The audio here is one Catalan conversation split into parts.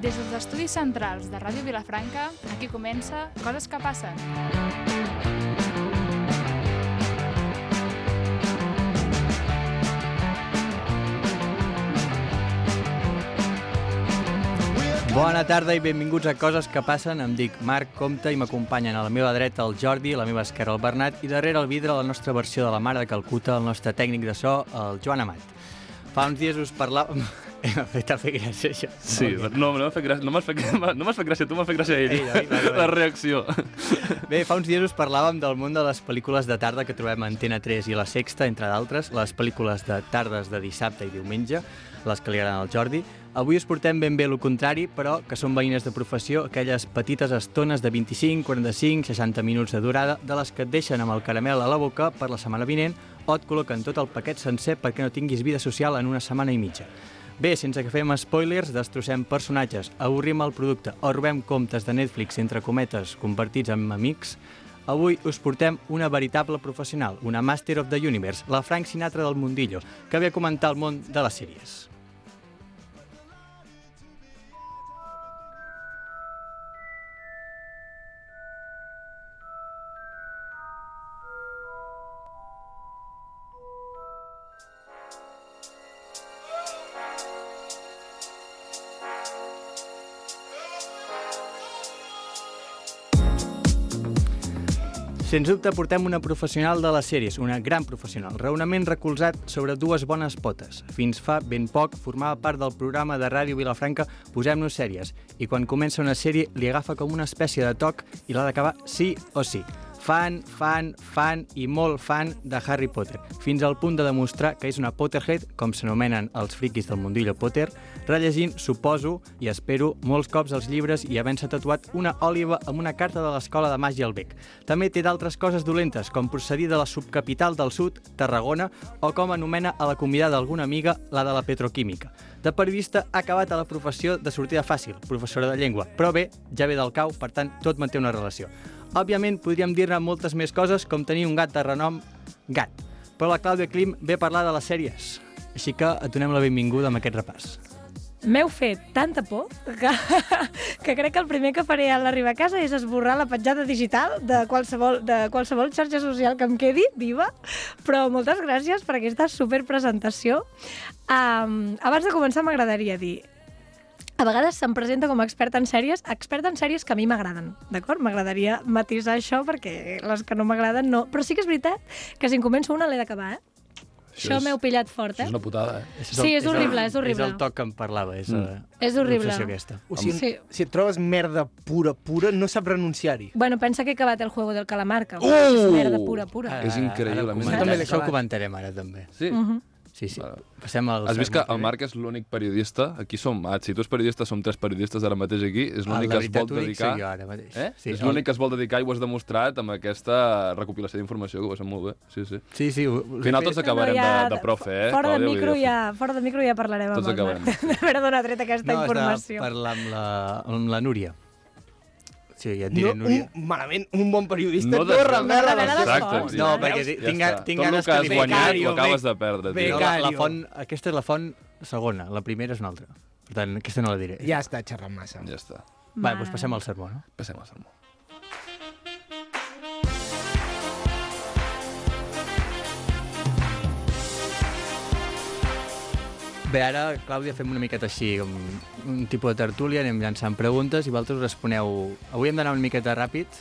dels estudis centrals de Ràdio Vilafranca, aquí comença Coses que passen. Bona tarda i benvinguts a Coses que passen. Em dic Marc Comte i m'acompanyen a la meva dreta el Jordi, a la meva esquerra el Bernat i darrere el vidre la nostra versió de la Mare de Calcuta, el nostre tècnic de so, el Joan Amat. Fa uns dies us parlàvem... M'ha fet a fer gràcia, això. Sí, no, no m'ha fet gràcia, no m'has fet, no m'has fet gràcia, tu m'ha fet gràcia a ell, Ell, oi? Vale, vale. la reacció. Bé, fa uns dies us parlàvem del món de les pel·lícules de tarda que trobem a Antena 3 i La Sexta, entre d'altres, les pel·lícules de tardes de dissabte i diumenge, les que li agraden al Jordi. Avui us portem ben bé el contrari, però que són veïnes de professió, aquelles petites estones de 25, 45, 60 minuts de durada, de les que et deixen amb el caramel a la boca per la setmana vinent o et col·loquen tot el paquet sencer perquè no tinguis vida social en una setmana i mitja. Bé, sense que fem spoilers, destrossem personatges, avorrim el producte o robem comptes de Netflix entre cometes convertits en amics, avui us portem una veritable professional, una Master of the Universe, la Frank Sinatra del Mundillo, que ve a comentar el món de les sèries. Sens dubte portem una professional de les sèries, una gran professional, raonament recolzat sobre dues bones potes. Fins fa ben poc formava part del programa de ràdio Vilafranca Posem-nos sèries, i quan comença una sèrie li agafa com una espècie de toc i l'ha d'acabar sí o sí. Fan, fan, fan i molt fan de Harry Potter, fins al punt de demostrar que és una Potterhead, com s'anomenen els friquis del mundillo Potter, rellegint, suposo i espero, molts cops els llibres i havent-se tatuat una òliba amb una carta de l'escola de màgia al bec. També té d'altres coses dolentes, com procedir de la subcapital del sud, Tarragona, o com anomena a la convidada d'alguna amiga, la de la petroquímica. De periodista ha acabat a la professió de sortida fàcil, professora de llengua, però bé, ja ve del cau, per tant, tot manté una relació. Òbviament, podríem dir-ne moltes més coses, com tenir un gat de renom gat. Però la Clàudia Klim ve a parlar de les sèries. Així que et donem la benvinguda amb aquest repàs. M'heu fet tanta por que, que crec que el primer que faré a l'arribar a casa és esborrar la petjada digital de qualsevol, de qualsevol xarxa social que em quedi viva, però moltes gràcies per aquesta superpresentació. Um, abans de començar m'agradaria dir a vegades se'm presenta com a experta en sèries, experta en sèries que a mi m'agraden, d'acord? M'agradaria matisar això perquè les que no m'agraden no. Però sí que és veritat que si en començo una l'he d'acabar, eh? Això, és- m'heu pillat fort, Això eh? és una putada, eh? Sí, és horrible, és horrible. És el toc que em parlava, és, mm. És horrible. aquesta. O sigui, Sí. sí. si et trobes merda pura, pura, no saps renunciar-hi. Bueno, pensa que he acabat el juego del calamar, que Uh! Ah, és merda pura, pura. És increïble, Ara, a ara més. comentarem. També l'he això ho acabat. comentarem ara, també. Sí. Mhm. Sí, sí. Vale. Passem al... Has vist que el Marc és l'únic periodista, aquí som, ah, si tu és periodista, som tres periodistes ara mateix aquí, és l'únic que es vol dedicar... Jo, ara mateix. Eh? Sí, és el- l'únic que es vol dedicar i ho has demostrat amb aquesta recopilació d'informació que ho vas fer molt bé. Sí, sí. Sí, sí. Ho, ho- Al final tots acabarem ja- de, de profe, eh? Clàudia, Fora de, vull dir, micro ja, fora de micro ja parlarem Tots amb el acabarem. Marc. D'haver donat tret aquesta no, has de informació. parlar amb la, amb la Núria. Sí, ja et diré, no, Núria. un, malament, un bon periodista No no, no desveu- revela No les revela les coses. fonts, Exacte, No, perquè tinc, Ja ga- està. tinc Tot el ganes que has li- guanyat Becario, ho acabes bec- de perdre, No, tio. la, la Becario. font, aquesta és la font segona, la primera és una altra. Per tant, aquesta no la diré. Ja està xerrant massa. Ja està. Va, doncs passem al sermó, no? Passem al sermó. Bé, ara, Clàudia, fem una miqueta així, com un tipus de tertúlia, anem llançant preguntes i vosaltres responeu... Avui hem d'anar una miqueta ràpid,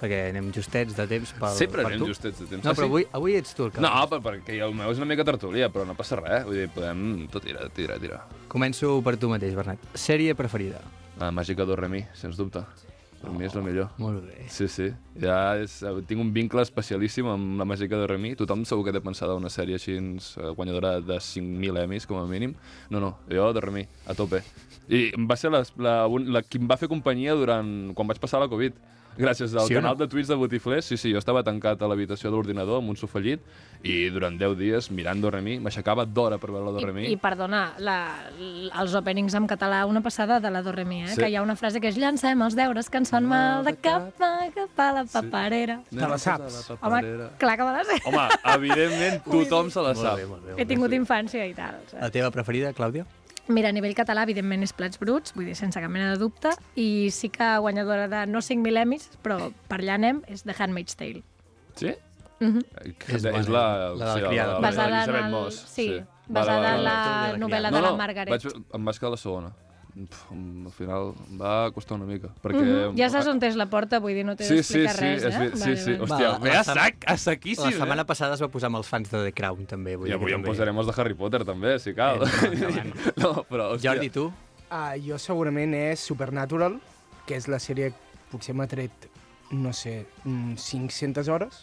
perquè anem justets de temps pel, Sempre per anem tu. justets de temps. No, Ah, però sí? avui, avui ets tu el que... No, per, perquè el meu és una mica tertúlia, però no passa res. Vull dir, podem... Tot tira, tira, tira. Començo per tu mateix, Bernat. Sèrie preferida. La màgica d'Orremi, sens dubte. Per mi és la millor. Molt bé. Sí, sí. Ja és, eh, tinc un vincle especialíssim amb la màgica de Remy. Tothom segur que té pensada una sèrie així eh, guanyadora de 5.000 Emmys, com a mínim. No, no, jo de Remy, a tope. I em va ser la, la, un- la, qui em va fer companyia durant, quan vaig passar la Covid. Gràcies al Sí o no? canal de tuits de Botiflers, sí, sí, jo estava tancat a l'habitació de l'ordinador amb un sofallit i durant 10 dies mirant Doremi, m'aixecava d'hora per veure la Doremi. I, I perdona, la, l- els openings en català, una passada de la Dorremi, eh? Sí. Sí. que hi ha una frase que és llancem els deures que ens fan mal de cap a cap a la paperera. Sí. Te la saps? Home, clar que me la sé, Home, evidentment tothom se la Molt sap. bé, molt bé. he tingut infància i tal. La Saps? teva preferida, Clàudia? Mira, a nivell català, evidentment, és Plats Bruts, vull dir, sense cap mena de dubte, i sí que guanyadora de no 5.000 Emmys, però per allà anem, és The Handmaid's Tale. Sí? Mhm. Que- És bona, eh? és la... la de la sí, criada. la- la- Basada en Elisabet el- Moss, sí, Vale, basada vale, en vale. Retorn de la la novel·la criada. de la Margaret. Vaig, em vas quedar a la segona. Puf, em- al final em va costar una mica. Perquè... Mhm. Ja saps on és la porta, vull dir, no t'he Sí, sí, sí, d'explicar res, és, eh? ve- sí, sí. vale. Hòstia, Va, ve la a sem- sac, a La saquíssim, eh? setmana passada es va posar amb els fans de The Crown, també. Vull I dir que avui Eh, en també- posarem els de Harry Potter, també, si cal. no, però, hòstia, Jordi, tu? Ah, jo segurament és Supernatural, que és la sèrie que potser m'ha tret, no sé, mm, 500 hores.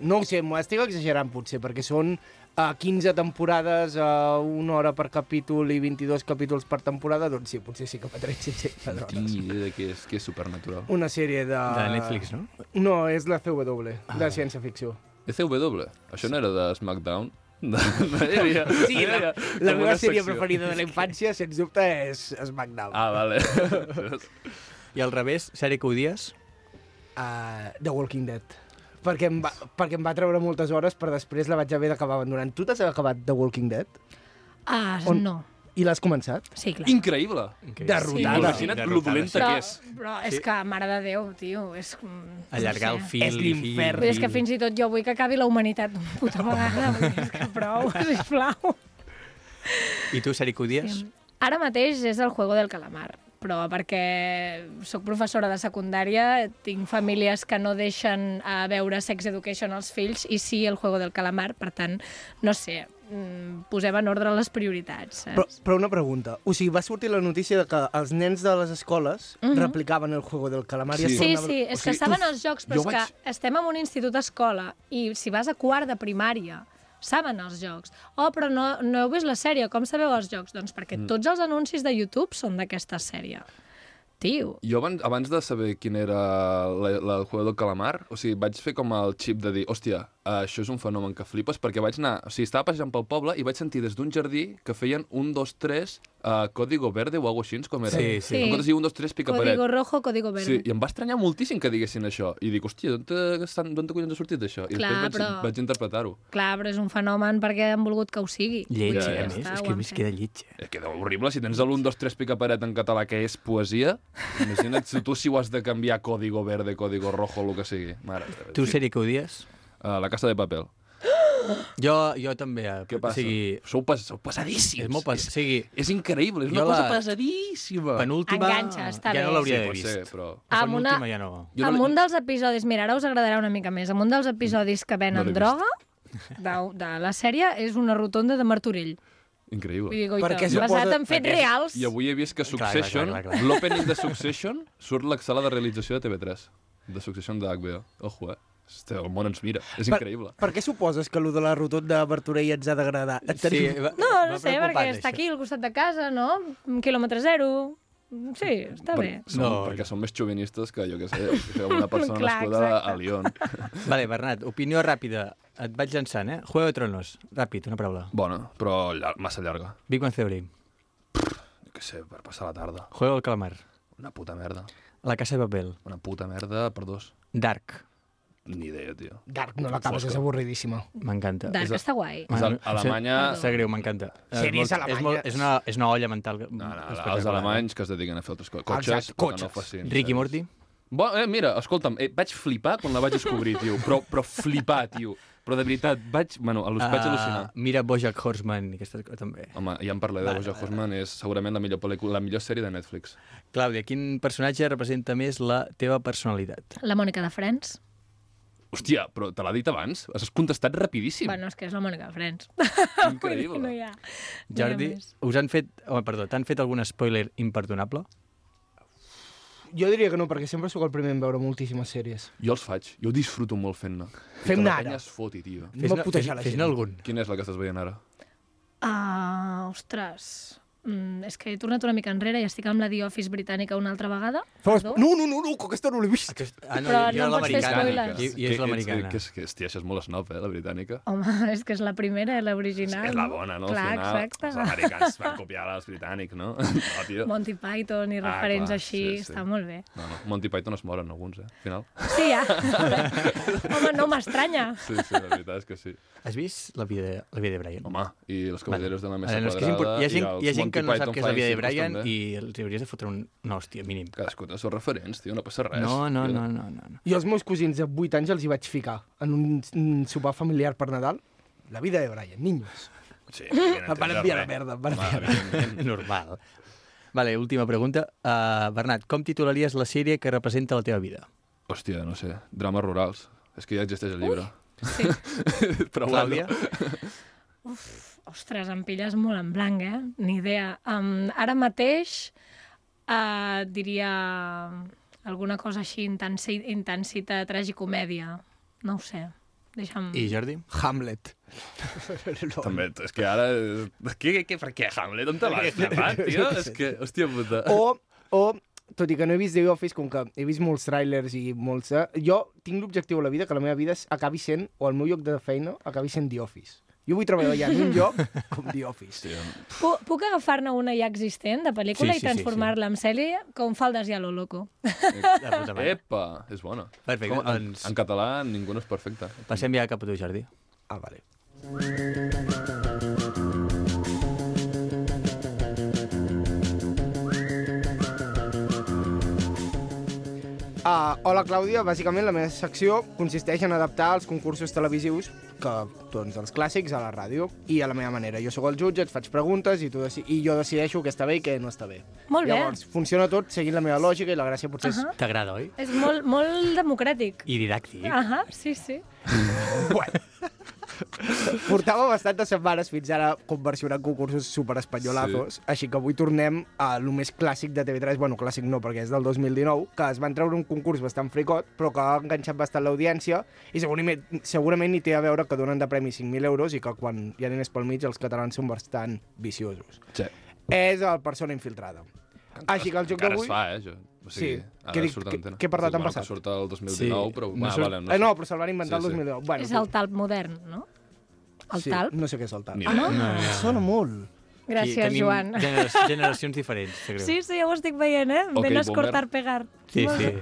No ho sé, m'ho estic exagerant potser, perquè són uh, 15 temporades, uh, una hora per capítol i 22 capítols per temporada, doncs sí, potser sí que m'ha tret 500 no tinc hores. ni idea de què és, què és supernatural. Una sèrie de... De Netflix, no? No, és la CW, Ah. de ciència-ficció. ECW, E això no era de SmackDown? No, no hi havia. Sí, no hi la, havia la com meva una sèrie secció. preferida de la infància, sens dubte, és SmackDown. Ah, vale. I al revés, sèrie que odies? uh, The Walking Dead. Perquè em, va, perquè em va treure moltes hores, però després la vaig haver d'acabar abandonant. Tu t'has acabat The Walking Dead? Ah, On- no. I l'has començat? Sí, clar. Increïble. Increïble. Derrotada. Sí, Imagina't lo dolenta sí. Però, que és. però és que, mare de Déu, tio, és... com- Allargar no el sé. fil. És i- l'infern. Vull dir, és que fins i tot jo vull que acabi la humanitat d'una puta vegada. Vull dir, és que prou, sisplau. I tu, sèrie que odies? Ara mateix és el Juego del Calamar, però perquè sóc professora de secundària, tinc famílies que no deixen a veure Sex Education als fills i sí el Juego del Calamar, per tant, no sé, mm, posem en ordre les prioritats. Saps? Però, però una pregunta. O sigui, va sortir la notícia de que els nens de les escoles mm -hmm. replicaven el Juego del Calamar Sí. i es Mhm. Sí, tornaven- sí, O és sigui, que estaven tu- els jocs, però jo és vaig- que estem en un institut escola i si vas a quart de primària saben els jocs. Oh, però no, no heu vist la sèrie, com sabeu els jocs? Doncs perquè tots els anuncis de YouTube són d'aquesta sèrie. Tio, Jo abans, abans de saber quin era la, la, el jugador del calamar, o sigui, vaig fer com el xip de dir, hòstia, això és un fenomen que flipes, perquè vaig anar, o sigui, estava passejant pel poble i vaig sentir des d'un jardí que feien un, dos, tres, uh, Código Verde o algo així, com era? Sí, sí. En comptes de dir un, dos, tres, pica paret. código rojo, Sí, código verde. i em va estranyar moltíssim que diguessin això. I dic, hòstia, d'on te- estan- d'on te collons ha sortit això? I Clar, després vaig, però- vaig interpretar-ho. Clar, però és un fenomen perquè han volgut que ho sigui. Lleig, Vull dir, eh, ja a més. està, És ho que a han més fet. queda lleig. eh? Eh, queda horrible. Si tens l'1, 2, 3 picaparet en català, que és poesia, imagina't si tu si ho has de canviar código verde, código rojo, el que sigui. Mare, meva. Tu, sèrie que odies? Eh, la Casa de Papel. Jo, jo també. eh, Què passa? O sigui, Sou, pas, sou pesadíssims. és molt pas... O sigui, És increïble, és Jo una la- cosa pesadíssima. penúltima... Enganxa, està ja bé. no l'hauria d'haver pot ser, vist. però... Ah, Amb una- penúltima ja no... Jo no amb l'he- un dels episodis, mira, ara us agradarà una mica més, amb un dels episodis que No venen l'he vist. droga de, de la sèrie és una rotonda de Martorell. Increïble. Vull dir, goita, Perquè basat suposa- en fets perquè- reals. I avui he vist que clar, clar, Succession, clar, clar. l'opening de Succession, surt la sala de realització de TV3, de Succession de HBO. Ojo, eh? Este, el món ens mira. És Per- increïble. Per què suposes que allò de la rotonda de Martorell ens ha d'agradar? Et tenim- eh, va- No, va no sé, perquè preocupant, està això. aquí al costat de casa, no? Un quilòmetre zero. Sí, està Per, bé. som, No, perquè no. som més xovinistes que, jo què sé, que una persona Clar, nascuda exacte. a Lyon. Vale, Bernat, opinió ràpida. Et vaig llançant, eh? Juego de Tronos. Ràpid, una paraula. Bona, però llar massa llarga. Big Bang Theory. Jo què sé, per passar la tarda. Juego del Calamar. Una puta merda. La Casa de Papel. Una puta merda per dos. Dark. Ni idea, tio. Dark, no l'acabes, és avorridíssima. M'encanta. Dark està guai. Els Bueno, a- Alemanya- em sap- Sap greu, m'encanta. És Sèries molt- alemanyes. És, molt, és, una, és una olla mental. No, no, no, els espectacular. alemanys que es dediquen a fer altres co cotxes, Exacte, però que no cotxes. facin. eh? Ricky Morty. Bo, eh, mira, escolta'm, eh, vaig flipar quan la vaig descobrir, tio. Però, però flipar, tio. Però de veritat, vaig... Bueno, al- vaig Ah, al·lucinar. Mira Bojack Horseman i aquestes coses també. Home, ja en parlaré de Bojack Horseman, és segurament la millor, pel·lícula- la millor sèrie de Netflix. Clàudia, quin personatge representa més la teva personalitat? La Mònica de Friends? Hòstia, però te l'ha dit abans? Has contestat rapidíssim. Bueno, és que és la Mònica de Friends. Increïble. no hi ha. no hi ha Jordi, més. us han fet... Oh, perdó, t'han fet algun spoiler imperdonable? Jo diria que no, perquè sempre sóc el primer en veure moltíssimes sèries. Jo els faig, jo disfruto molt fent-ne. Tota Fem-ne la ara. penya es foti, tio. No Fes-ne- putejar la fes- Fes-ne gent. algun. Quina és la que estàs veient ara? Ah, ostres. Mm, és que he tornat una mica enrere i estic amb la The Office britànica una altra vegada. Fos... Perdó? No, no, no, no, que aquesta no l'he vist. Ah, Però jo- jo era no em pots fer l'americana. spoilers. Jo- Jo Que- és l'americana. Que, és- que, és- hòstia, això és molt snob, eh, la britànica. Home, és que és la primera, eh, l'original. és la bona, no? Al Clar, final, exacte. Els americans van copiar els britànics, no? No, tio. Monty Python i Ah, referents clar, així, sí, sí. està molt bé. No, no. Monty Python es moren alguns, eh? Al final. Sí, ja. Home, no m'estranya. Sí, sí, la veritat és que sí. Has vist la vida, la vida de Brian? Home, i les cavalleros de la mesa Ara, no, és que és quadrada import- hi ha gent- i els hi ha gent que que no sap què és la vida de Brian També. i els hi hauries de fotre un... No, hòstia, mínim. Cadascú té els seus referents, tio, no passa res. No, no, Jo- no, no, no. no. Jo els meus cosins de 8 anys els hi vaig ficar en un, un sopar familiar per Nadal. La vida de Brian, niños. Sí, em Em van enviar a la merda, em van enviar a la Normal. Vale, última pregunta. Uh, Bernat, com titularies la sèrie que representa la teva vida? Hòstia, no sé, drames rurals. És que ja existeix el llibre. Sí. Però Clàudia? bueno, Ostres, em pilles molt en blanc, eh? Ni idea. Um, ara mateix uh, diria alguna cosa així, intensi intensita, tragicomèdia. No ho sé. Deixa'm... I Jordi? Hamlet. també, és que ara... és- Què, què, què, per què, Hamlet? On te l'has llevat, tio? És que, hòstia puta. O, o, tot i que no he vist The Office, com que he vist molts trailers i molts... eh, Jo tinc l'objectiu a la vida que la meva vida es- acabi sent, o el meu lloc de feina, acabi sent The Office. Jo vull treballar ja en un lloc com The Office. Pu puc agafar-ne una ja existent de pel·lícula Sí, sí, i sí, transformar-la en sèrie com faldes i a lo loco. La puta mare. Epa, és bona. Perfecte, Com, en, doncs- en català ningú no és perfecte. Passem ja cap a tu, Jordi. Ah, vale. Uh, hola, Clàudia. Bàsicament, la meva secció consisteix en adaptar els concursos televisius que, doncs, els clàssics a la ràdio i a la meva manera. Jo sóc el jutge, et faig preguntes i, tu deci i jo decideixo què està bé i què no està bé. Molt bé. Llavors, funciona tot seguint la meva lògica i la gràcia potser uh -huh. T'agrada, oi? És molt, molt democràtic. I didàctic. Ahà, sí, sí. Portava bastantes setmanes fins ara conversionant concursos superespanyolazos, sí. així que avui tornem a lo més clàssic de TV3, bueno, clàssic no, perquè és del 2019, que es van treure un concurs bastant fricot, però que ha enganxat bastant l'audiència, i segurament, segurament hi té a veure que donen de premi 5.000 euros i que quan hi ha diners pel mig els catalans són bastant viciosos. Sí. És el Persona Infiltrada. Així Ah, que el joc Encara d'avui... es fa, eh, això. O sigui, Sí. ara Què dic- surt a què- l'antena. què he parlat Sí, en bueno, passat? Que surt el 2019, Sí. sí. però... No No, surt- vale, no, Eh, no, però se'l van inventar Sí, el sí. 2019. Bueno, És el talp modern, no? El sí, talp? No sé què és el talp. Ni Ah, idea. no? no. Sona molt. Gràcies, tenim Joan. Generacions, generacions diferents, creu. Sí, sí, ja ho estic veient, eh? Ok, Okay, Venes boomer. cortar pegar. sí. Molt sí. bé.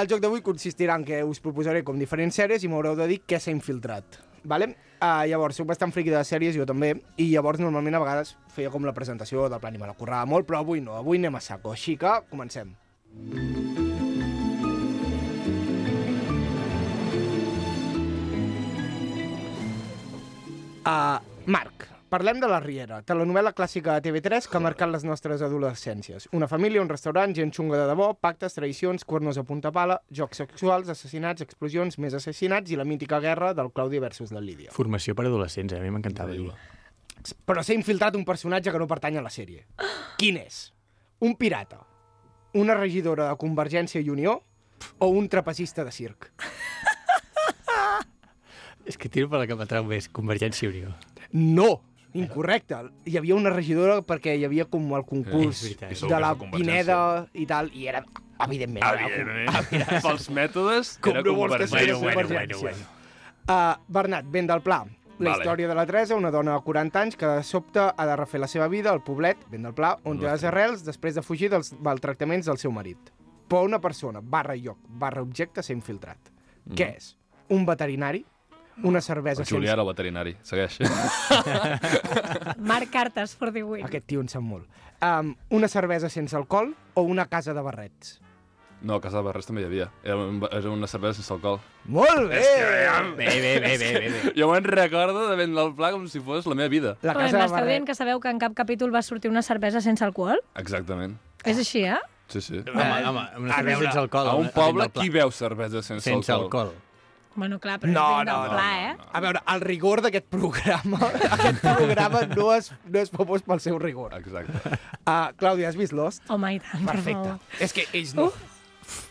El joc d'avui consistirà en que us proposaré com diferents sèries i m'haureu de dir què s'ha infiltrat. Vale? Uh, llavors, soc bastant friqui de sèries, jo també, i llavors normalment a vegades feia com la presentació del plan i me la currava molt, però avui no, avui anem a saco, així que comencem. Uh, Marc, parlem de La Riera, telenovel·la clàssica de TV3 que ha marcat les nostres adolescències. Una família, un restaurant, gent xunga de debò, pactes, traïcions, cuernos a punta pala, jocs sexuals, assassinats, explosions, més assassinats i la mítica guerra del Claudi versus la Lídia. Formació per adolescents, eh? a mi m'encantava. dir. Però s'ha infiltrat un personatge que no pertany a la sèrie. Quin és? Un pirata, una regidora de Convergència i Unió o un trapecista de circ? És que tiro per la que m'atrau més, Convergència i Unió. No! Incorrecte. Hi havia una regidora perquè hi havia com el concurs Eh, és veritat. I sou de que és la de Convergència. Pineda i tal, i era, evidentment... era- Evidentment. Pels mètodes, Com era no vols que sigui convergència. Bueno, bueno, bueno. Uh, Bernat, vent del Pla. La Vale. història de la Teresa, una dona de 40 anys que de sobte ha de refer la seva vida al poblet, vent del Pla, on té les arrels després de fugir dels maltractaments del seu marit. Però una persona, barra lloc, barra objecte, s'ha infiltrat. Mm. Què és? Un veterinari? Una cervesa El Julià era el veterinari, segueix. Marc Cartes, for the win. Aquest tio en sap molt. Um, una cervesa sense alcohol o una casa de barrets? No, a casa de Barres també hi havia. Era, un, era una cervesa sense alcohol. Molt bé! Bé, bé, bé, bé, bé. bé. Jo me'n recordo de vendre el pla com si fos la meva vida. La Home, casa de M'esteu dient barrets. que sabeu que en cap capítol va sortir una cervesa sense alcohol? Exactament. És així, eh? Sí, sí. Home, home, una cervesa sense alcohol. A un vent del poble, Pla. qui veu cervesa sense, Sense alcohol. Bueno, clar, però No, és ben no, del no, pla, eh? A veure, el rigor d'aquest programa, aquest programa no és, no és famós pel seu rigor. Exacte. Uh, Clàudia, has vist Lost? Home, i tant, per Perfecte. favor. És que ells no.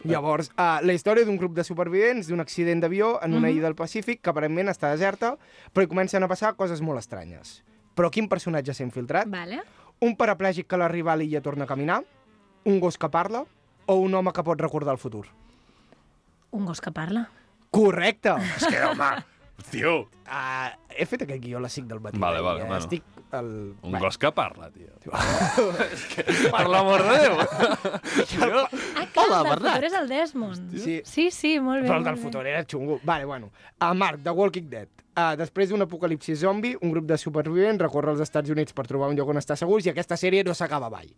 Llavors, uh, la història d'un grup de supervivents d'un accident d'avió en Mhm. una illa del Pacífic que aparentment està deserta, però hi comencen a passar coses molt estranyes. Però quin personatge s'ha infiltrat? Vale. Un paraplègic que l'arribar a l'illa torna a caminar? Un gos que parla? O un home que pot recordar el futur? Un gos que parla. Correcte! És que, home, tio... Uh, he fet aquest guió a les 5 del matí. Vale, eh? vale, bueno. Estic el... Un gos que parla, tio. És que, per l'amor de Déu! Jo- Ah, clar, Hola, del Bernat. futur és el Desmond. Sí, Sí, sí, molt bé. però el molt del bé. futur era xungo. Vale, bueno. A Marc, de Walking Dead. Uh, després d'un apocalipsi zombi, un grup de supervivents recorre als Estats Units per trobar un lloc on estar segurs i aquesta sèrie no s'acaba mai.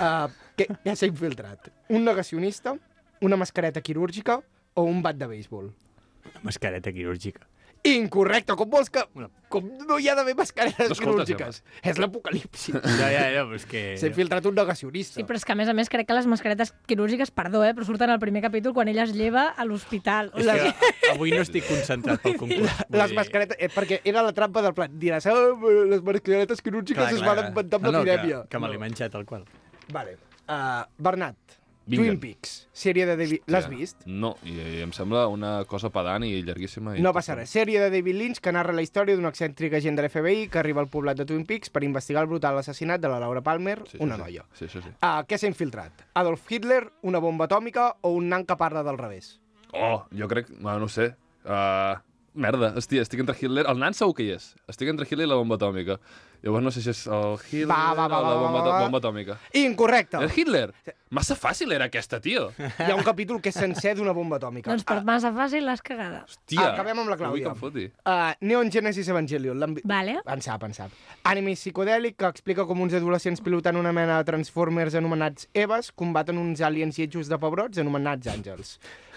Uh, que, ja s'ha infiltrat. Un negacionista, una mascareta quirúrgica o un bat de béisbol. Una mascareta quirúrgica. Incorrecte, com vols que... Com no hi ha d'haver mascaretes Escolta, quirúrgiques. És l'apocalipsi. Ja, ja, ja, però és que... S'ha infiltrat un negacionista. Sí, però és que a més a més crec que les mascaretes quirúrgiques, perdó, eh, però surten al primer capítol quan ella es lleva a l'hospital. És Les- que avui no estic concentrat pel concurs. Vull les dir- mascaretes... Eh, perquè era la trampa del plan. Diràs, ah, les mascaretes quirúrgiques Clar, es clar, van clar. inventar amb No, no, l'epidèmia. Que, que me l'he menjat, al qual. Vale. Uh, Bernat, Vinga. Twin Peaks, sèrie de David... L'has vist? No, i, i em sembla una cosa pedant i llarguíssima. I No passa res. Sèrie de David Lynch que narra la història d'un excèntric agent de l'FBI que arriba al poblat de Twin Peaks per investigar el brutal assassinat de la Laura Palmer, Sí, sí, una sí. noia. Sí, sí, sí. Uh, què s'ha infiltrat? Adolf Hitler, una bomba atòmica o un nan que parla del revés? Oh, jo crec... Bueno, no ho sé. Uh, merda, hòstia, estic entre Hitler... El nan segur que hi és. Estic entre Hitler i la bomba atòmica. Llavors no sé si és el Hitler Va, va, va, o la va, bomba, va, va. bomba atòmica. Incorrecte! Eh? És Hitler? Massa fàcil era aquesta, tio. Hi ha un capítol que és sencer d'una bomba atòmica. Uh, Doncs per massa fàcil l'has cagada. Hòstia. Acabem amb la no vull Clàudia. que em foti. Uh, Neon Genesis Evangelion. l'han vi- Vale. En sap, en sap. Anime psicodèlic que explica com uns adolescents pilotant una mena de Transformers anomenats Eves combaten uns aliens lletjos de pebrots anomenats àngels.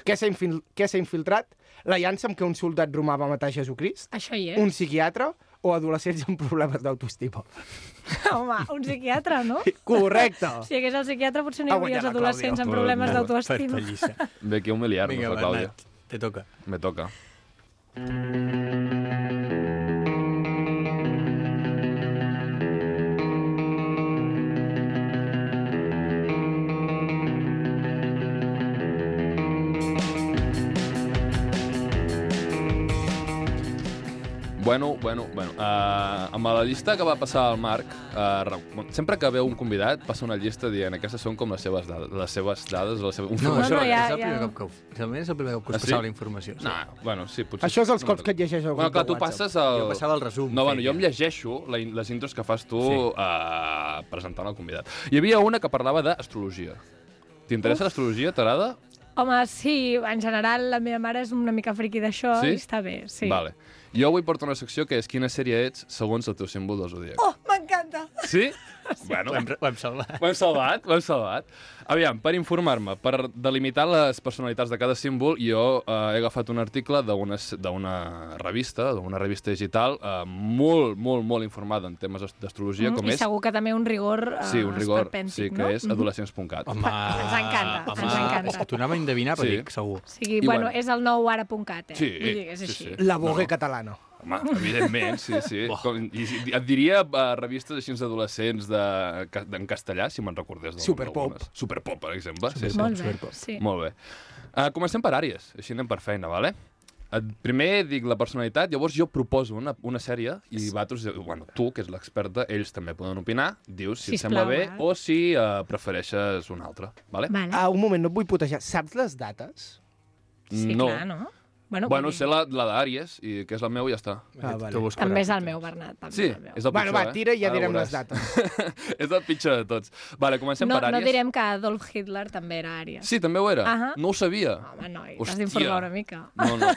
Què s'ha infil què s'ha infiltrat? La llança amb què un soldat romà va matar Jesucrist? Això hi és. Un psiquiatre? o adolescents amb problemes d'autoestima. Home, un psiquiatre, no? Correcte! Si hi hagués el psiquiatre potser no hi Ha hauria guanyat els la adolescents Clàudia. amb problemes Molt d'autoestima. Per pallissa. Ve aquí a humiliar-nos, Vinga, la Clàudia. Bernat, te toca. Me toca. Bueno, bueno, bueno. Uh, amb la llista que va passar al Marc, uh, re- sempre que veu un convidat passa una llista dient aquestes són com les seves dades, les seves dades, la seva no, informació. no, ja- és el primer ja. cop que ho... Realment és el primer cop que us Ah, sí? passava la informació. sí. No, bueno, sí, potser... Això és els no cops recordo. que et llegeix el Bueno, grup clar, de tu WhatsApp. passes el... Jo passava el resum, No, bueno, feia. jo em llegeixo la, in- les intros que fas tu Sí. sí. uh, presentant el convidat. Hi havia una que parlava d'astrologia. T'interessa l'astrologia, t'agrada? Home, sí, en general la meva mare és una mica friqui d'això Sí? i està bé, sí. Vale. Jo avui porto una secció que és quina sèrie ets segons el teu símbol del zodiac. Oh, m'encanta! Sí? sí? Bueno, Ho hem, ho hem salvat. Ho hem salvat, ho hem salvat. Aviam, per informar-me, per delimitar les personalitats de cada símbol, jo eh, he agafat un article d'una s- d'una revista, d'una revista digital, eh, molt, molt, molt informada en temes ast- d'astrologia, com Mm, I és... segur que també un rigor eh, Sí, un rigor, esperpèntic, sí, que no? Mm-hmm. és adolescents.cat. Home, Ens encanta, ens encanta. És que t'ho anava a endevinar, però Sí. dic, segur. O sigui, I bueno, bueno. és el nou ara.cat, eh? Sí, Vull dir, que és sí, així. sí. La bogue catalana. Home, evidentment, sí, sí. Com, i, i- et diria eh, revistes així d'adolescents de- ca- en castellà, si me'n recordés. d'alguna- Superpop. d'algunes. Superpop, per exemple. Sí, sí. Molt bé, sí. Molt bé. Uh, comencem per àrees, així anem per feina, vale? Et, primer dic la personalitat, llavors jo proposo una, una sèrie i vosaltres, bueno, tu, que és l'experta, ells també poden opinar, dius si et Sisplau, sembla bé val. o si uh, prefereixes una altra, vale? Vale. Ah, un moment, no et vull putejar. Saps les dates? sí, no. clar, no? Bueno, Bueno, vull dir, sé la, la d'àries, i que és la meva i ja està. Ah, vale. T'ho buscaràs. també és el meu, Bernat. També Sí, és el meu. és el pitjor, eh? Bueno, va, tira i ja Ara direm veuràs. les dates. és el pitjor de tots. Vale, comencem No, per àries. no direm que Adolf Hitler també era àries. Sí, també ho era. Ahà. Ah, No ho sabia. Home, noi, t'has Hòstia. d'informar una mica. No, no.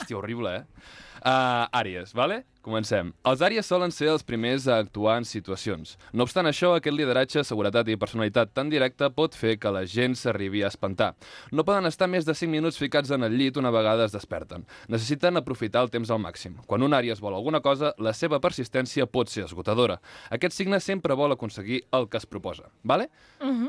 Hòstia, horrible, eh? Uh, àries, vale? Comencem. Els àries solen ser els primers a actuar en situacions. No obstant això, aquest lideratge, seguretat i personalitat tan directa pot fer que la gent s'arribi a espantar. No poden estar més de 5 minuts ficats en el llit una vegada es desperten. Necessiten aprofitar el temps al màxim. Quan un àries vol alguna cosa, la seva persistència pot ser esgotadora. Aquest signe sempre vol aconseguir el que es proposa, vale?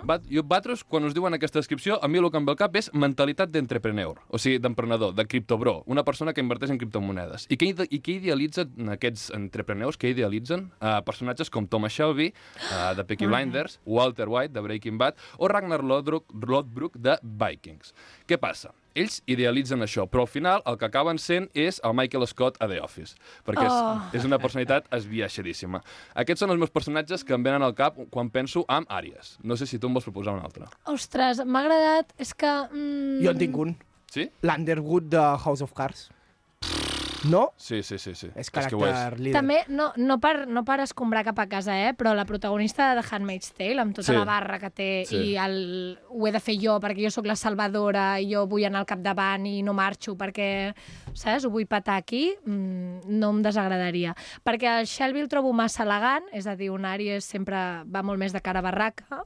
Bat, jo, Batros, quan us diuen aquesta descripció, a mi el que em ve al cap és mentalitat d'entrepreneur, o sigui, d'emprenedor, de criptobro, una persona que inverteix en criptomonedes. I què, ide- i què idealitzen aquests entrepreneurs? Què idealitzen? Uh, personatges com Thomas Shelby, uh, de Peaky Blinders, Walter White, de Breaking Bad, o Ragnar Lodbrok, Lodbrok de Vikings. Què passa? Ells idealitzen això, però al final el que acaben sent és el Michael Scott a The Office, perquè Oh. és, és una personalitat esbiaixadíssima. Aquests són els meus personatges que em venen al cap quan penso en Àries. No sé si tu em vols proposar un altre. Ostres, m'ha agradat, és que... Mm, Jo en tinc un. Sí? L'Underwood de House of Cards. No? Sí, sí, sí. sí. És que ho caràcter és. líder. També, no, no, per, no per escombrar cap a casa, eh? però la protagonista de The Handmaid's Tale, amb tota Sí. sí. la barra que té, Sí. sí. i el, ho he de fer jo perquè jo sóc la salvadora, i jo vull anar al capdavant i no marxo perquè, saps, ho vull patar aquí, mm, no em desagradaria. Perquè el Shelby el trobo massa elegant, és a dir, un Aries sempre va molt més de cara a barraca,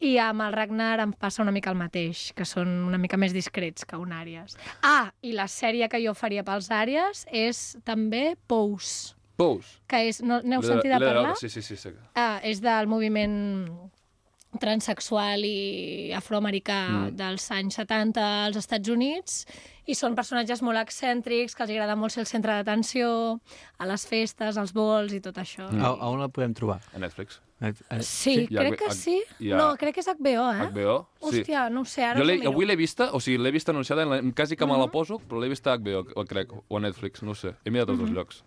i amb el Ragnar em passa una mica el mateix, que són una mica més discrets que un Àries. Ah, i la sèrie que jo faria pels Àries és també Pous Pous. que és, no n'heu L'he de- sentit a l'he de veure, parlar? Sí, sí, sí. sí. Ah, és del moviment transexual i afroamericà mm. dels anys 70 als Estats Units i són personatges molt excèntrics que els agrada molt ser el centre d'atenció a les festes, als vols i tot això. A, a on la podem trobar? Eh, A Netflix. A- a- Sí, Mm. Sí, hi ha crec que H- sí. hi ha- No, crec que és HBO, eh? HBO? Sí. Hòstia, no ho sé, ara Jo l'he- us ho miro. Mhm. avui l'he vista, o sigui, l'he vista anunciada, en la, quasi que me la poso, però l'he vista a HBO, o crec, o a Netflix, no ho sé. He mirat els Mhm. dos llocs.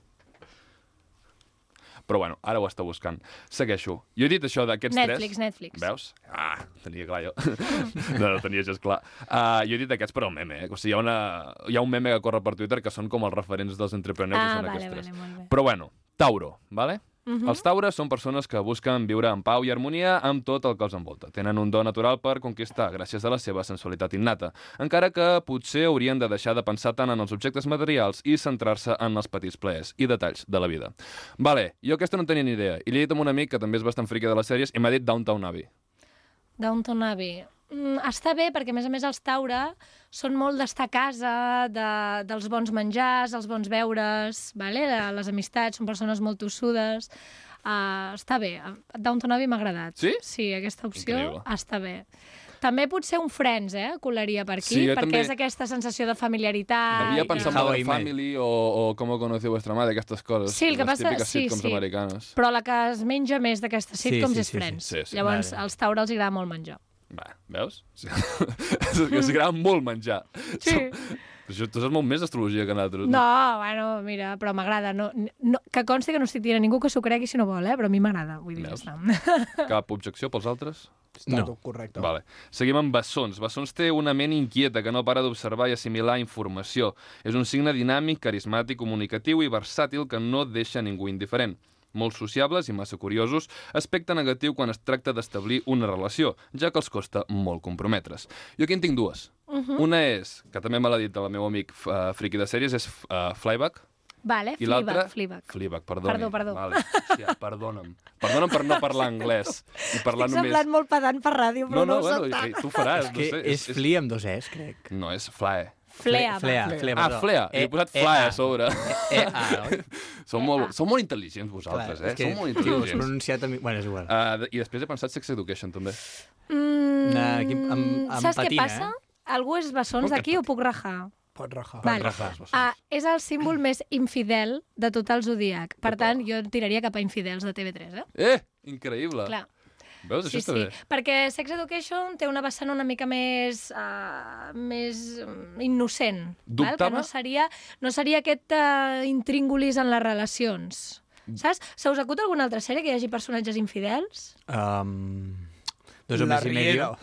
Però bueno, ara ho està buscant. Segueixo. Jo he dit això d'aquests tres... Netflix, Netflix. Mhm. Veus? Ah, tenia clar jo. no, no, tenia gens clar. Uh, jo he dit aquests per al meme, eh? O sigui, hi ha, una, hi ha un meme que corre per Twitter que són com els referents dels entrepreneurs i Ah, són vale, aquests tres. vale, molt bé. Però bueno, Tauro, vale? Uh Mhm. -huh. Els taures són persones que busquen viure en pau i harmonia amb tot el que els envolta. Tenen un do natural per conquistar gràcies a la seva sensualitat innata, encara que potser haurien de deixar de pensar tant en els objectes materials i centrar-se en els petits plaers i detalls de la vida. Vale, jo aquesta no en tenia ni idea, i l'he dit amb un amic que també és bastant friqui de les sèries i m'ha dit Downtown Abbey. Downton Abbey. Mm, està bé, perquè a més a més els Taure són molt d'estar a casa, de, dels bons menjars, els bons beures, vale? de les amistats, són persones molt tossudes. Uh, està bé, Downton Abbey m'ha agradat. Sí? Sí, aquesta opció Increïble. està bé. També potser un Friends, eh? Colaria per aquí, Sí, jo perquè també- és aquesta sensació de familiaritat. Havia i- pensat en How Modern I Met. Family o, o Cómo conocí vuestra madre, aquestes coses. Sí, el que les passa- típiques sí, sitcoms sí. americanes. Però la que es menja més d'aquestes Sí, sitcoms sí, és sí, sí. Friends. Sí, sí. Llavors, Vale. als Taure els agrada molt menjar. Va, veus? Sí. és que s'agrada molt menjar. Sí. Però això, tu saps molt més d'astrologia que nosaltres. No, bueno, mira, però m'agrada. No, no, que consti que no estic dient a ningú que s'ho cregui si no vol, eh? però a mi m'agrada. Vull dir, ja Veus? està. Cap objecció pels altres? Està No. tot correcte. Vale. Seguim amb Bessons. Bessons té una ment inquieta que no para d'observar i assimilar informació. És un signe dinàmic, carismàtic, comunicatiu i versàtil que no deixa ningú indiferent. Molt sociables i massa curiosos, aspecte negatiu quan es tracta d'establir una relació, ja que els costa molt comprometre's. Jo aquí en tinc dues. Uh -huh. Una és, que també me l'ha dit el meu amic uh, friki de sèries, és uh, Flyback. Vale, I l'altra... Fleabag, Fleabag. Fleabag, perdoni. Perdó, perdó. Vale. Hòstia, perdona'm. Perdona'm per no parlar anglès i parlar Estic només... semblant molt pedant per No, ràdio, però no, no, ho bueno, soc i- tant. i tu faràs, que ah, no sé. és Flea amb dos Es, crec. No, és flae. Flea, Flea, va. Flea, Ah, perdó. E, flea. Li he posat flae a sobre. Eh, ah, oi? Són molt, són molt intel·ligents vosaltres, eh? és que, Són molt tio, has intel·ligents. pronunciat... Amb... Bueno, és igual. Uh, I després he pensat Sex Education, també. Mm, Nah, aquí em- em- em saps patina, què passa? eh? Algú és bessons Com que d'aquí o puc rajar? Pot rajar. Vale. Rafa, és Ah, és el símbol més infidel de tot el zodiac. Per tant, jo tiraria cap a infidels de TV3, eh? Eh, increïble. Clar. Veus, això Sí, està sí, bé. perquè Sex Education té una vessant una mica més, uh, més mm, innocent. Val? Que Dubtava? no seria, no seria aquest uh, intríngulis en les relacions. Mm. Saps? Se us acut alguna altra sèrie que hi hagi personatges infidels? Um, dos homes La i medio.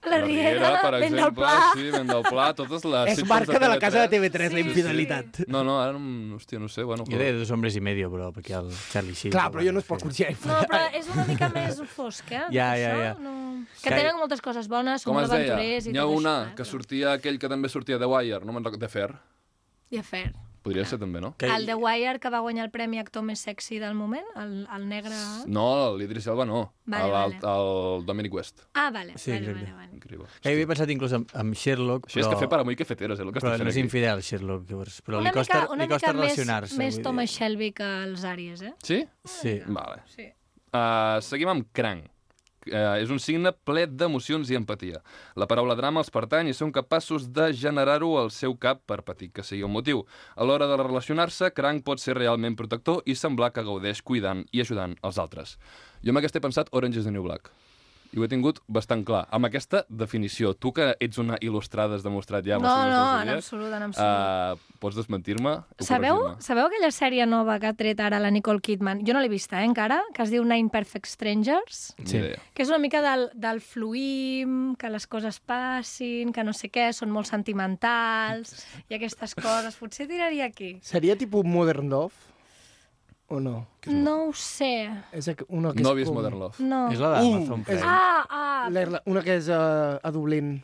Riera. La, per Vent del exemple. Pla. Sí, vent del pla, totes les... És sitcoms marca de la casa de TV3, Sí, la sí. infidelitat. No, no, ara, mm, hòstia, no sé, bueno... Jo deia dos hombres i medio, però, perquè el Charlie Sheen... Clar, però jo no es pot Sí. considerar No, infidel. però és una mica més fosc, eh? Ja, això, ja, ja. No... Que Ja, tenen ja. moltes coses bones, són Com molt es deia? aventurers i N'hi ha tot una això. Ah, que sortia aquell que també sortia de Wire, no me'n recordo, de Fer. I a fer. Podria Ah. ser també, no? Que- El The Wire, que va guanyar el premi actor més sexy del moment, el, el negre... No, l'Idris Elba no. Vale, el, vale. el, el Dominic West. Ah, vale, Sí, vale, exacte. vale, vale. Increïble. Hòstia. Que havia pensat inclús amb, amb Sherlock, Això és Eh, però... cafè per avui cafeteres, eh, el que però estem fent no és aquí. infidel, Sherlock, llavors. Però li una costa, mica, una li costa mica més, relacionar-se. més vull dir. Thomas Shelby que els Aries, eh? Sí? Sí. Vale. Sí. Uh, seguim amb cranc. Uh, és un signe ple d'emocions i empatia. La paraula drama els pertany i són capaços de generar-ho al seu cap per petit que sigui el motiu. A l'hora de relacionar-se, cranc pot ser realment protector i semblar que gaudeix cuidant i ajudant els altres. Jo amb aquest he pensat Orange is the New Black. i ho he tingut bastant clar. Amb aquesta definició, tu que ets una il·lustrada, has demostrat ja... amb No, els Ah, teus no, dos en dies, absolut, en absolut. Uh, pots desmentir-me? o Sabeu, corregir-me? sabeu aquella sèrie nova que ha tret ara la Nicole Kidman? Jo no l'he vista, eh, encara, que es diu Nine Perfect Strangers, Ni Sí. idea. que és una mica del, del fluïm, que les coses passin, que no sé què, són molt sentimentals, i aquestes coses. Potser tiraria aquí. Seria tipus Modern Love? O no? No ho sé. És aqu- una que és No he vist com- Modern Love. No. És la d'Amazon Uh, Prime. Ah, ah, l'Irla- Una que és a, a Dublín.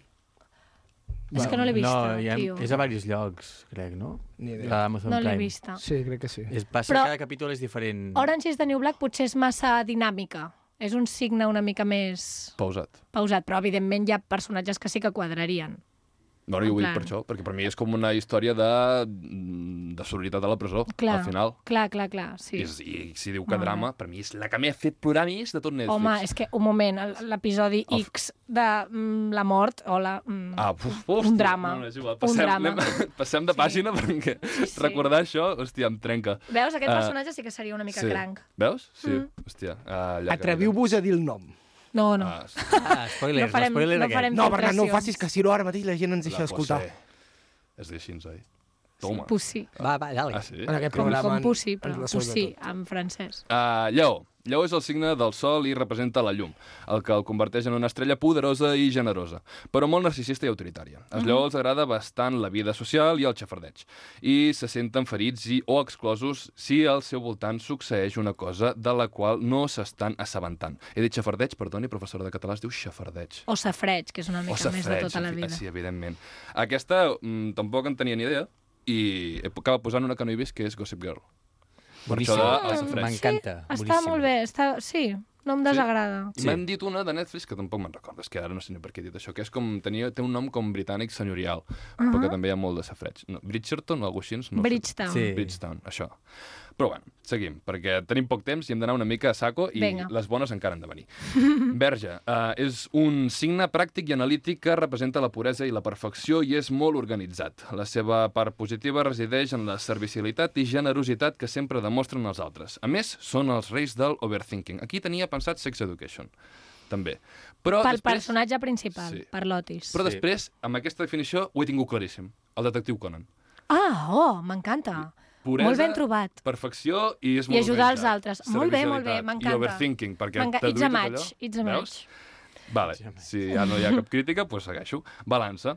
és que no l'he vista, no, hi ha, tio. és a diversos llocs, crec, no? Ni idea. La d'Amazon No l'he Prime. vista. Sí, crec que sí. És, passa, Però- Però... cada capítol és diferent. Orange is the New Black potser és massa dinàmica. És un signe una mica més Pausat. pausat, però evidentment hi ha personatges que sí que quadrarien. No, no, jo En ho dic plan. per això, perquè per mi és com una història de, mm, de sororitat a la presó, Clar, al final. clar, clar, clar, sí. I, és, I si diu que Molt bé. drama, per mi és la que m'ha fet plorar més de tot Netflix. Home, és que, un moment, el- l'episodi Of. X de mm, la mort, o la... Mm, Ah, uf, hòstia, un drama, No, no, és igual. un Passem, drama. anem- passem de pàgina perquè sí. recordar això, hòstia, em trenca. Veus, aquest eh, personatge sí que seria una mica sí. cranc. Mm. Veus? Sí, hòstia. Ah, llaca, Atreviu-vos a dir el nom. No, no. llaca. Ah, sí. Ah, spoilers, No farem- spoiler no aquest. farem- No, Bernat, no ho Filtracions. facis, que si no ara mateix la gent ens deixa La d'escoltar. José. Es diu així, oi? Toma. Pussy. Va, va, dale. Ah, sí? En aquest Com, programa... com en- pussy, ens però la sobra pussy tot. en francès. Uh, lleó. Lleó és el signe del sol i representa la llum, el que el converteix en una estrella poderosa i generosa, però molt narcisista i autoritària. Als Mhm. lleó els agrada bastant la vida social i el xafardeig, i se senten ferits i o exclosos si al seu voltant succeeix una cosa de la qual no s'estan assabentant. He dit xafardeig, perdoni, professora de català es diu xafardeig. O safreig, que és una mica més de tota la evi- vida. Sí, evidentment. Aquesta mm, tampoc en tenia ni idea, i he- acaba posant una que no he vist, que és Gossip Girl. Boníssim. Per això de- els Mm, freds. M'encanta. Sí, està boníssim. molt bé, està... sí, no em desagrada. I sí. m'han dit una de Netflix que tampoc me'n recordo, és que ara no sé ni per què he dit això, que és com, tenia, té un nom com britànic senyorial, uh -huh. però que també hi ha molt de safreig. No, Bridgerton o alguna cosa així? No ho sé. Bridgetown. Sí. Bridgetown, això. Però bueno, seguim, perquè tenim poc temps i hem d'anar una mica a saco i Vinga. les bones encara han de venir. Verge uh, és un signe pràctic i analític que representa la puresa i la perfecció i és molt organitzat. La seva part positiva resideix en la servicialitat i generositat que sempre demostren els altres. A més, són els reis del overthinking. Aquí tenia pensat Sex Education, també. Però Pel després, personatge principal, Sí. per l'Otis. però Sí. després, amb aquesta definició, ho he tingut claríssim. El detectiu Conan. Ah, oh, m'encanta. Puresa, Molt ben trobat. Perfecció i és I molt ajudar els organitzat. altres. Molt bé, molt bé, Servicialitat m'encanta. I overthinking, perquè M'enca- t'ha It's a duit tot match, allò. it's a Veus? match. Vale, si ja no hi ha cap crítica, doncs segueixo. Balança.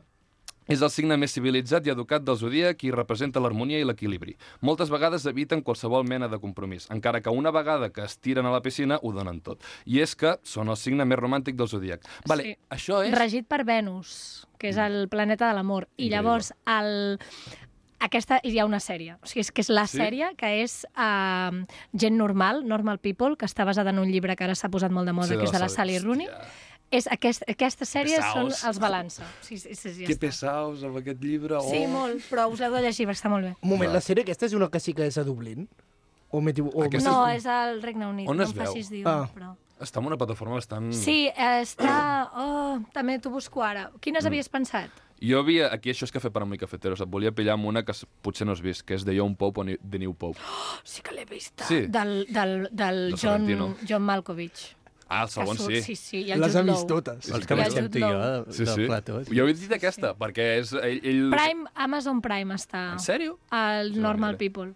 És el signe més civilitzat i educat del zodíac i representa l'harmonia i l'equilibri. Moltes vegades eviten qualsevol mena de compromís, encara que una vegada que es tiren a la piscina ho donen tot. I és que són el signe més romàntic del zodíac. Vale, Sí. això és... Regit per Venus, que és Mm. el planeta de l'amor. I llavors, el... aquesta hi ha una sèrie. O sigui, és que és la Sí? sèrie que és uh, Gent Normal, Normal People, que està basada en un llibre que ara s'ha posat molt de moda, Sí, que és de la Sally Rooney. Hòstia, És aquest, aquestes sèries són pesaos. els balança. Sí, sí, sí, sí, ja que està. pesaos amb aquest llibre. sí, oh. molt, però us l'heu de llegir, perquè està molt bé. Un moment, Va. la sèrie aquesta és una que sí que és a Dublín? O m'he equivo- o- Aquesta No, és al Regne Unit, On no es em veu? Mm. facis dir, Ah. però... Està en una plataforma bastant... Sí, eh, està... Oh, també t'ho busco ara. Mm. Quines havies pensat? Jo havia... Aquí això és cafè per amo i cafeteros. Et volia pillar amb una que s- potser no has vist, que és The Young Pope o Ni- The New Pope. Oh, sí que l'he vista. Sí. Del, del, De del John, Sorrentino. John Malkovich. Ah, el Que segon surt- sí. Sí, sí, i el Les Jude ha vist Law. totes. És I que el marxem tu i jo de, Sí, del sí. plató. Jo havia dit aquesta, perquè és... Ell, ell... Prime, Amazon Prime està. En sèrio? Al no Normal mira. People.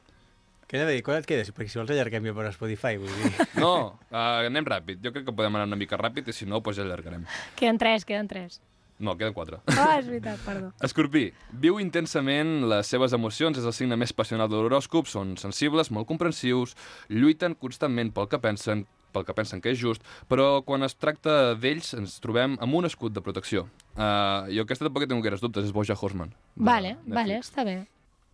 Què he de dir? Quan et quedes? Perquè si vols allarguem jo per Spotify, vull dir. No, uh, anem ràpid. Jo crec que podem anar una mica ràpid i si no, doncs ja allargarem. Queden tres, queden tres. No, queden quatre. Ah, és veritat, perdó. Escorpí, viu intensament les seves emocions, és el signe més passional de l'horòscop, són sensibles, molt comprensius, lluiten constantment pel que pensen, pel que pensen que és just, però quan es tracta d'ells ens trobem amb un escut de protecció. Uh, jo aquesta tampoc hi tinc gaires dubtes, és Boja Horseman. de Vale, Netflix. vale, està bé.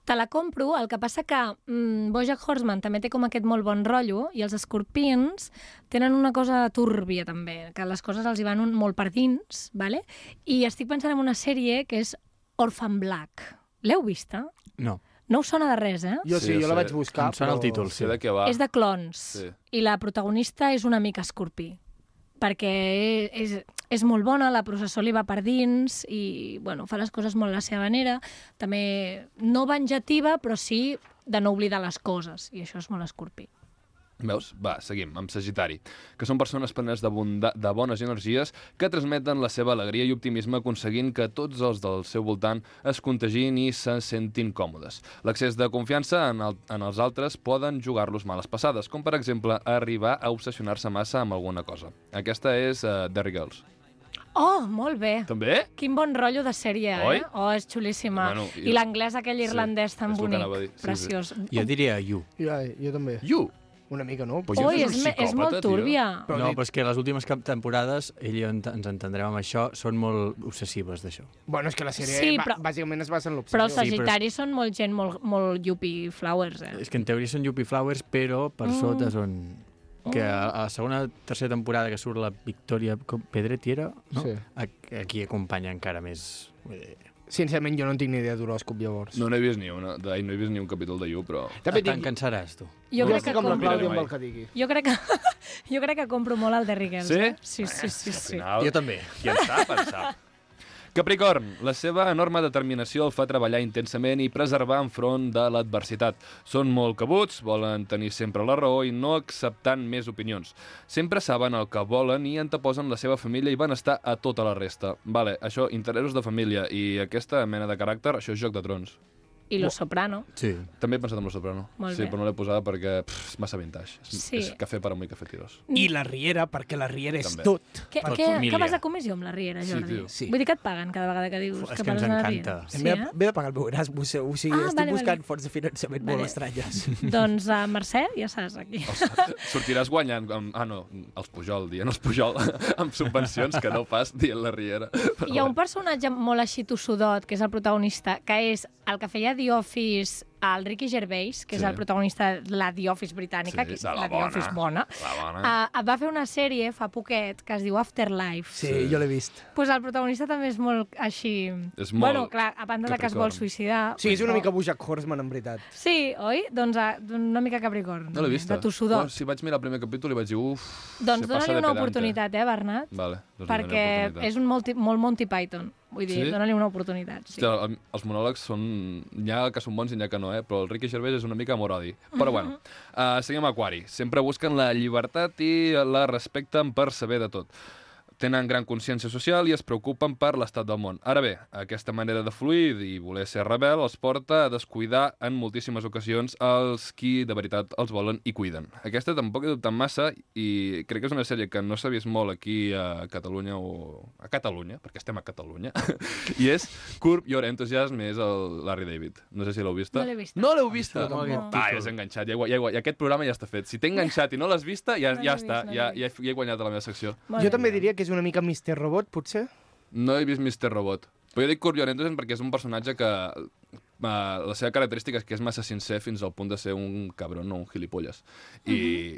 Te la compro, el que passa que mm, Bojack Horseman també té com aquest molt bon rotllo i els escorpins tenen una cosa túrbia també, que les coses els hi van un, molt per dins, vale? i estic pensant en una sèrie que és Orphan Black. L'heu vista? No. No us sona de res, eh? Jo Sí, sí, jo la sí. vaig buscar, Em sona el títol. Sé de què va. És de clons. Ah. Sí. I la protagonista és una mica escorpí. Perquè és, és molt bona, la processó li va per dins i, bueno, fa les coses molt a la seva manera. També no venjativa, però sí de no oblidar les coses. I això és molt escorpí. Veus? Va, seguim, amb Sagitari, que són persones plenes de, bonda, de bones energies que transmeten la seva alegria i optimisme aconseguint que tots els del seu voltant es contagin i se sentin còmodes. L'accés de confiança en, el, en els altres poden jugar-los males passades, com per exemple arribar a obsessionar-se massa amb alguna cosa. Aquesta és uh, Derry Girls. Oh, molt bé. També? Quin bon rotllo de sèrie, Oi? eh? Oh, és xulíssima. Bueno, i- I l'anglès aquell irlandès tan és el que bonic. anava a dir. Sí, sí. Preciós. Jo diria You. Jo, jo també. You! Una mica, no? Pues jo- Oi, és un és, me- és psicòpata, molt tio. túrbia. Però No, dit- però és que les últimes cap temporades, ell i jo ent- ens entendrem amb això, són molt obsessives d'això. Bueno, és que la sèrie Sí, sí, però... però- bàsicament es basa en l'obsessió. Però els Sí, però- sagitaris són molt gent molt, molt yuppie flowers, eh? És que en teoria són Yuppie Flowers, però per Mm. mm. sota són... Que a la segona tercera temporada que surt la Victoria com- Pedretti era, no? Sí. Ac- Aquí acompanya encara més... vull dir, Sincerament, jo no en tinc ni idea d'horòscop, llavors. No n'he vist ni una, d'ahir no he vist ni un capítol de You, però... També dic... T'encansaràs, tu. Jo Jo crec estic que com la compro, Clàudia amb mai. el que digui. jo crec que, jo crec que compro molt el de Rigels. Sí? Eh? Sí, sí, sí. Al sí. final... Jo també. Qui en sap, en sap. Capricorn, la seva enorme determinació el fa treballar intensament i preservar enfront de l'adversitat. Són molt cabuts, volen tenir sempre la raó i no acceptant més opinions. Sempre saben el que volen i anteposen la seva família i benestar a tota la resta. Vale, això, interessos de família i aquesta mena de caràcter, això és Joc de Trons. I Lo Soprano. Sí. També he pensat en Lo Soprano. Molt sí, bé. però no l'he posada perquè pff, és massa vintage. És, Sí. és cafè per a i cafetiros. I la Riera, perquè la Riera és També. tot. Que, Per que, família. que vas a comissió amb la Riera, Sí, Jordi? tio. Sí. Vull dir que et paguen cada vegada que dius Uf, és que que ens parles de la encanta. Riera. A Sí, Sí, m'he eh? m'he de pagar el meu Erasmus, eh? o sigui, Ah, ah, estic vale, vale, buscant vale. vale. fonts de finançament Vale. vale. molt estranyes. Doncs, uh, Mercè, ja saps, aquí. Oh, Sortiràs guanyant, amb, ah no, els Pujol, dient els Pujol, amb subvencions que no pas dient la Riera. Però Hi ha un personatge molt així tossudot, que és el protagonista, que és el que feia The Office al Ricky Gervais, que sí. Sí. és el protagonista de la The Office britànica, Sí, que és de la la, The bona. Office bona. La bona. Uh, va fer una sèrie fa poquet que es diu Afterlife. Sí, sí. jo l'he vist. Pues el protagonista també és molt així... És Bueno, molt clar, a banda de que es Capricorn. vol suïcidar... Sí, és una però- mica Bojack Horseman, en veritat. Sí, oi? Doncs ah, una mica Capricorn. No l'he vista. De tossudor. Bueno, si vaig mirar el primer capítol i vaig dir, uf... doncs se passa dona-li de una pedante. oportunitat, eh, Bernat? Vale, doncs perquè és un molt, molt Monty Python. Vull dir, Sí? dona-li una oportunitat. Sí. Hòstia, el- els monòlegs són... N'hi ha que són bons i n'hi ha que no, eh? Però el Ricky Gervais és una mica amor-odi. Però bueno, uh, seguim amb Aquari. Sempre busquen la llibertat i la respecten per saber de tot. Tenen gran consciència social i es preocupen per l'estat del món. Ara bé, aquesta manera de fluir i voler ser rebel els porta a descuidar en moltíssimes ocasions els qui de veritat els volen i cuiden. Aquesta tampoc he dubtat massa i crec que és una sèrie que no s'ha vist molt aquí a Catalunya o... a Catalunya, perquè estem a Catalunya, i és Curb Your Enthusiasm, és el Larry David. No sé si l'heu vista. No l'he vista. No l'heu vista? sona molt Va, ja has enganxat. Ja, he gua- ja, he gua- ja, aquest programa ja està fet. Si t'he enganxat i no l'has vista, ja, No l'he ja vist, està. no l'he ja, ja, he, ja he guanyat a la meva secció. Molt jo bé. també diria que és una mica Mr. Robot, potser. No he vist Mr. Robot. Però jo dic Curb Your Enthusiasm perquè és un personatge que... Uh, la seva característica és que és massa sincer fins al punt de ser un cabron o un gilipolles. I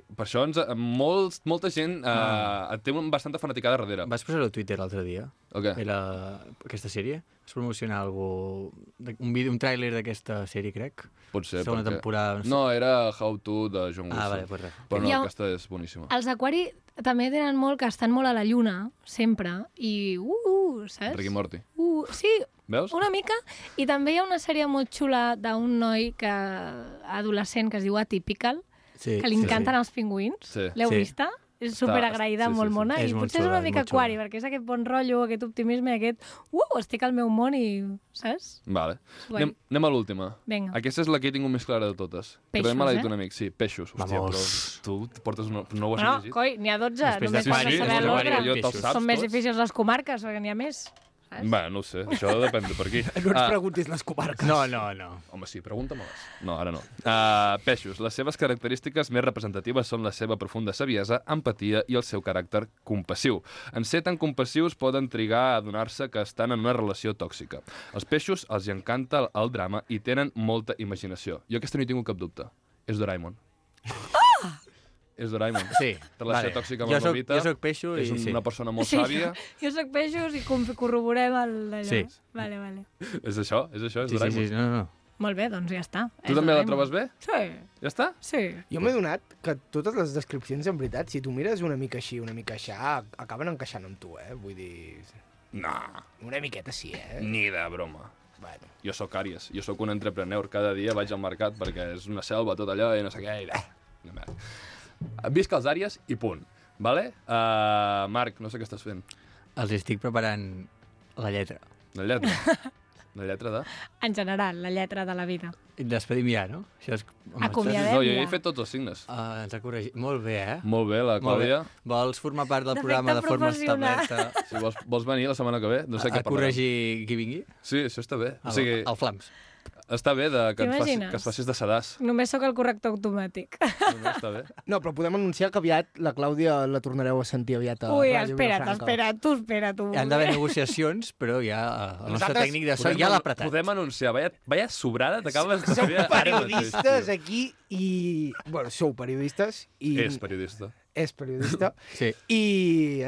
Mhm. per això ens, molts, molta gent Ah. uh, té un- bastanta fanaticada darrere. Vas posar-ho a Twitter l'altre dia? O què? Era aquesta sèrie? Vas promocionar algú... de- Un, vídeo, un tràiler d'aquesta sèrie, crec? Pot ser, Segona perquè- temporada... no sé. No, era How To de John Wilson. Ah, vale, pues res. Però Hi no, ha un- aquesta és boníssima. Els aquari també tenen molt que estan molt a la lluna, sempre, i uh, uh saps? Ricky Morty. Uh, sí, Veus? una mica. I també hi ha una sèrie molt xula d'un noi que adolescent que es diu Atypical, Sí, que li sí, encanten sí. els pingüins. Sí. L'heu Sí. vista? És superagraïda, sí, sí, molt sí. mona, És i molt potser és xula, una és mica molt xula. aquari, perquè és aquest bon rotllo, aquest optimisme, aquest... Uh, estic al meu món i... Saps? Vale. Guai. Anem, anem a l'última. Vinga. Aquesta és la que he tingut més clara de totes. Peixos, També me l'ha dit eh? un amic, sí, peixos. Hòstia, però Vamos. tu et portes una... no ho has Bueno, llegit? coi, n'hi ha 12, Després només de- quan Sí, sí, sí, saber és l'ordre. aquari, jo te'ls Són saps Són més tots? difícils les comarques, perquè n'hi ha més. saps? Bé, no ho sé, això depèn de per aquí. No ens Ah, preguntis les comarques. No, no, no. Home, sí, pregunta-me-les. No, ara no. Uh, peixos. Les seves característiques més representatives són la seva profunda saviesa, empatia i el seu caràcter compassiu. En ser tan compassius poden trigar a adonar-se que estan en una relació tòxica. Els peixos els hi encanta el, el drama i tenen molta imaginació. Jo aquesta no hi tinc cap dubte. És Doraemon. És Doraemon. Sí, Relació vale. tòxica amb Jo el soc- Nobita. jo soc peixos És i una sí. persona molt sàvia. Jo sóc peixos i com- corroborem el... Allò. Sí. Vale, vale. És això? És això? És Sí, sí, Doraemon. sí, no, no. Molt bé, doncs ja està. Tu també la trobes bé? Sí, Ja està? sí. Jo m'he donat que totes les descripcions, en veritat, si tu mires una mica així, una mica aixà, acaben encaixant amb tu, eh? Vull dir... No, Una miqueta sí, eh? ni de broma. Bueno. Jo sóc Àries, jo sóc un entrepreneur. Cada dia vaig al mercat perquè és una selva tot allò i no sé què. I... Una merda. Visca els àries i punt. Vale? Uh, Marc, no sé què estàs fent. Els estic preparant la lletra. La lletra. La lletra de... En general, la lletra de la vida. Despedim ja, no? Això és... home, Acomiadem. No, jo ja ja. he fet tots els signes. Ah, ens ha corregit. Molt bé, eh? Molt bé, la Molt bé. Mm. Clàudia. Vols formar part del De fet, programa de tan forma professional. establerta Si vols, vols venir la setmana que ve, no sé a, què a corregir qui vingui? Sí, això està bé. El, O sigui, el Flams. està bé de, que, ens faci, T'imagines? que es facis de sedàs. Només sóc el corrector automàtic. Ah, No, no, està bé. No, però podem anunciar que aviat la Clàudia la tornareu a sentir aviat a Ui, Ràdio espera't, Vilafranca. espera't, tu, espera't, tu. Han d'haver negociacions, però ja eh, el nostre Nosaltres tècnic de so podem ja l'ha anu- apretat. Podem anunciar. Vaya, vaya sobrada t'acabes de Sou fer. ara mateix, periodistes tio. aquí i... Bueno, sou periodistes i... És periodista. És periodista. Sí. I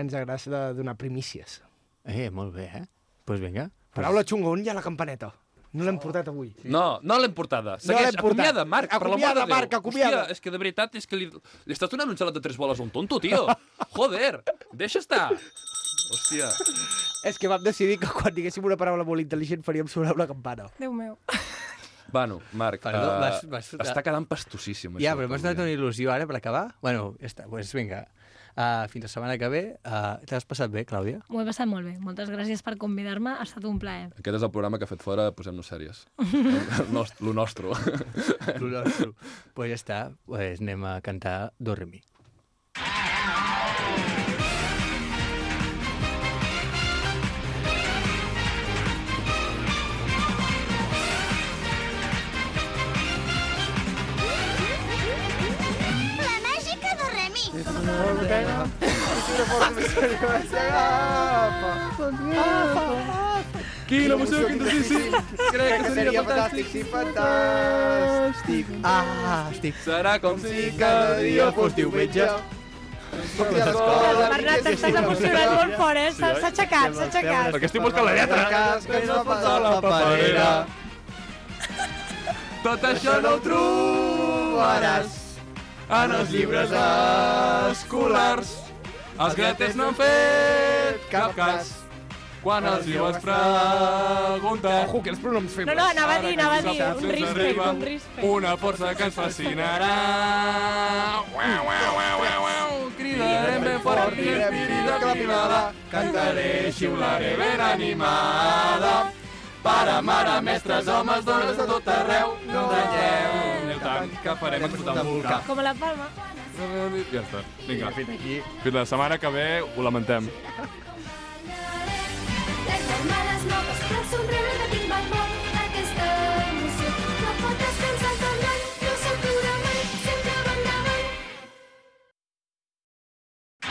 ens agrada de donar primícies. Eh, molt bé, eh? Doncs pues vinga. Paraula xunga, on hi ha la campaneta? No l'hem portat avui. No, no l'hem portada. Segueix, l'hem portada. acomiada, Marc, per la mare de Acomiada, Déu. Marc, acomiada. Hòstia, és que de veritat és que li, li estàs donant un gelat de tres boles a un tonto, tio. Joder, deixa estar. Hòstia. És que vam decidir que quan diguéssim una paraula molt intel·ligent faríem sonar una campana. Déu meu. Bueno, Marc, Perdó, eh, vas- vas- està quedant pastussíssim. Ja, això, però m'has Clàudia. donat una il·lusió ara per acabar. Bueno, ja està, doncs pues vinga. Uh, fins la setmana que ve. Uh, T'has passat bé, Clàudia? M'ho he passat molt bé. Moltes gràcies per convidar-me. Ha estat un plaer. Aquest és el programa que ha fet fora Posem-nos sèries. El nost- Lo nostre. Doncs pues ja està, pues anem a cantar Dormi. La màgica de Remi. Quina emoció que ens Crec que seria fantàstic. sí, fantàstic. Ah, estic... Serà com si cada dia fos diumenge. Hola, Bernat, t'estàs emocionant molt fort, eh? S'ha s'ha aixecat, s'ha aixecat. Perquè estic buscant la lletra. que no fa a la paperera. Tot això no ho trobaràs en els llibres escolars. Els graters n'han fet cap cas. Quan els hi vas preguntar... Ojo, que els pronoms fem. No, no, anava a dir, anava a dir. Ara que ens Un respect, arriba un respect. Una força que ens fascinarà. Uau, uau, uau, uau, uau. Cridarem ben fort, cridarem pirida, clapimada. Cantaré, xiularé ben animada. Pare, mare, mestres, homes, dones de tot arreu. No enganyeu ni el tanc que farem explotar un volcà. Com a la palma. Ja està. Vinga, fins aquí. Fins la setmana que ve, ho lamentem. Las hermanas no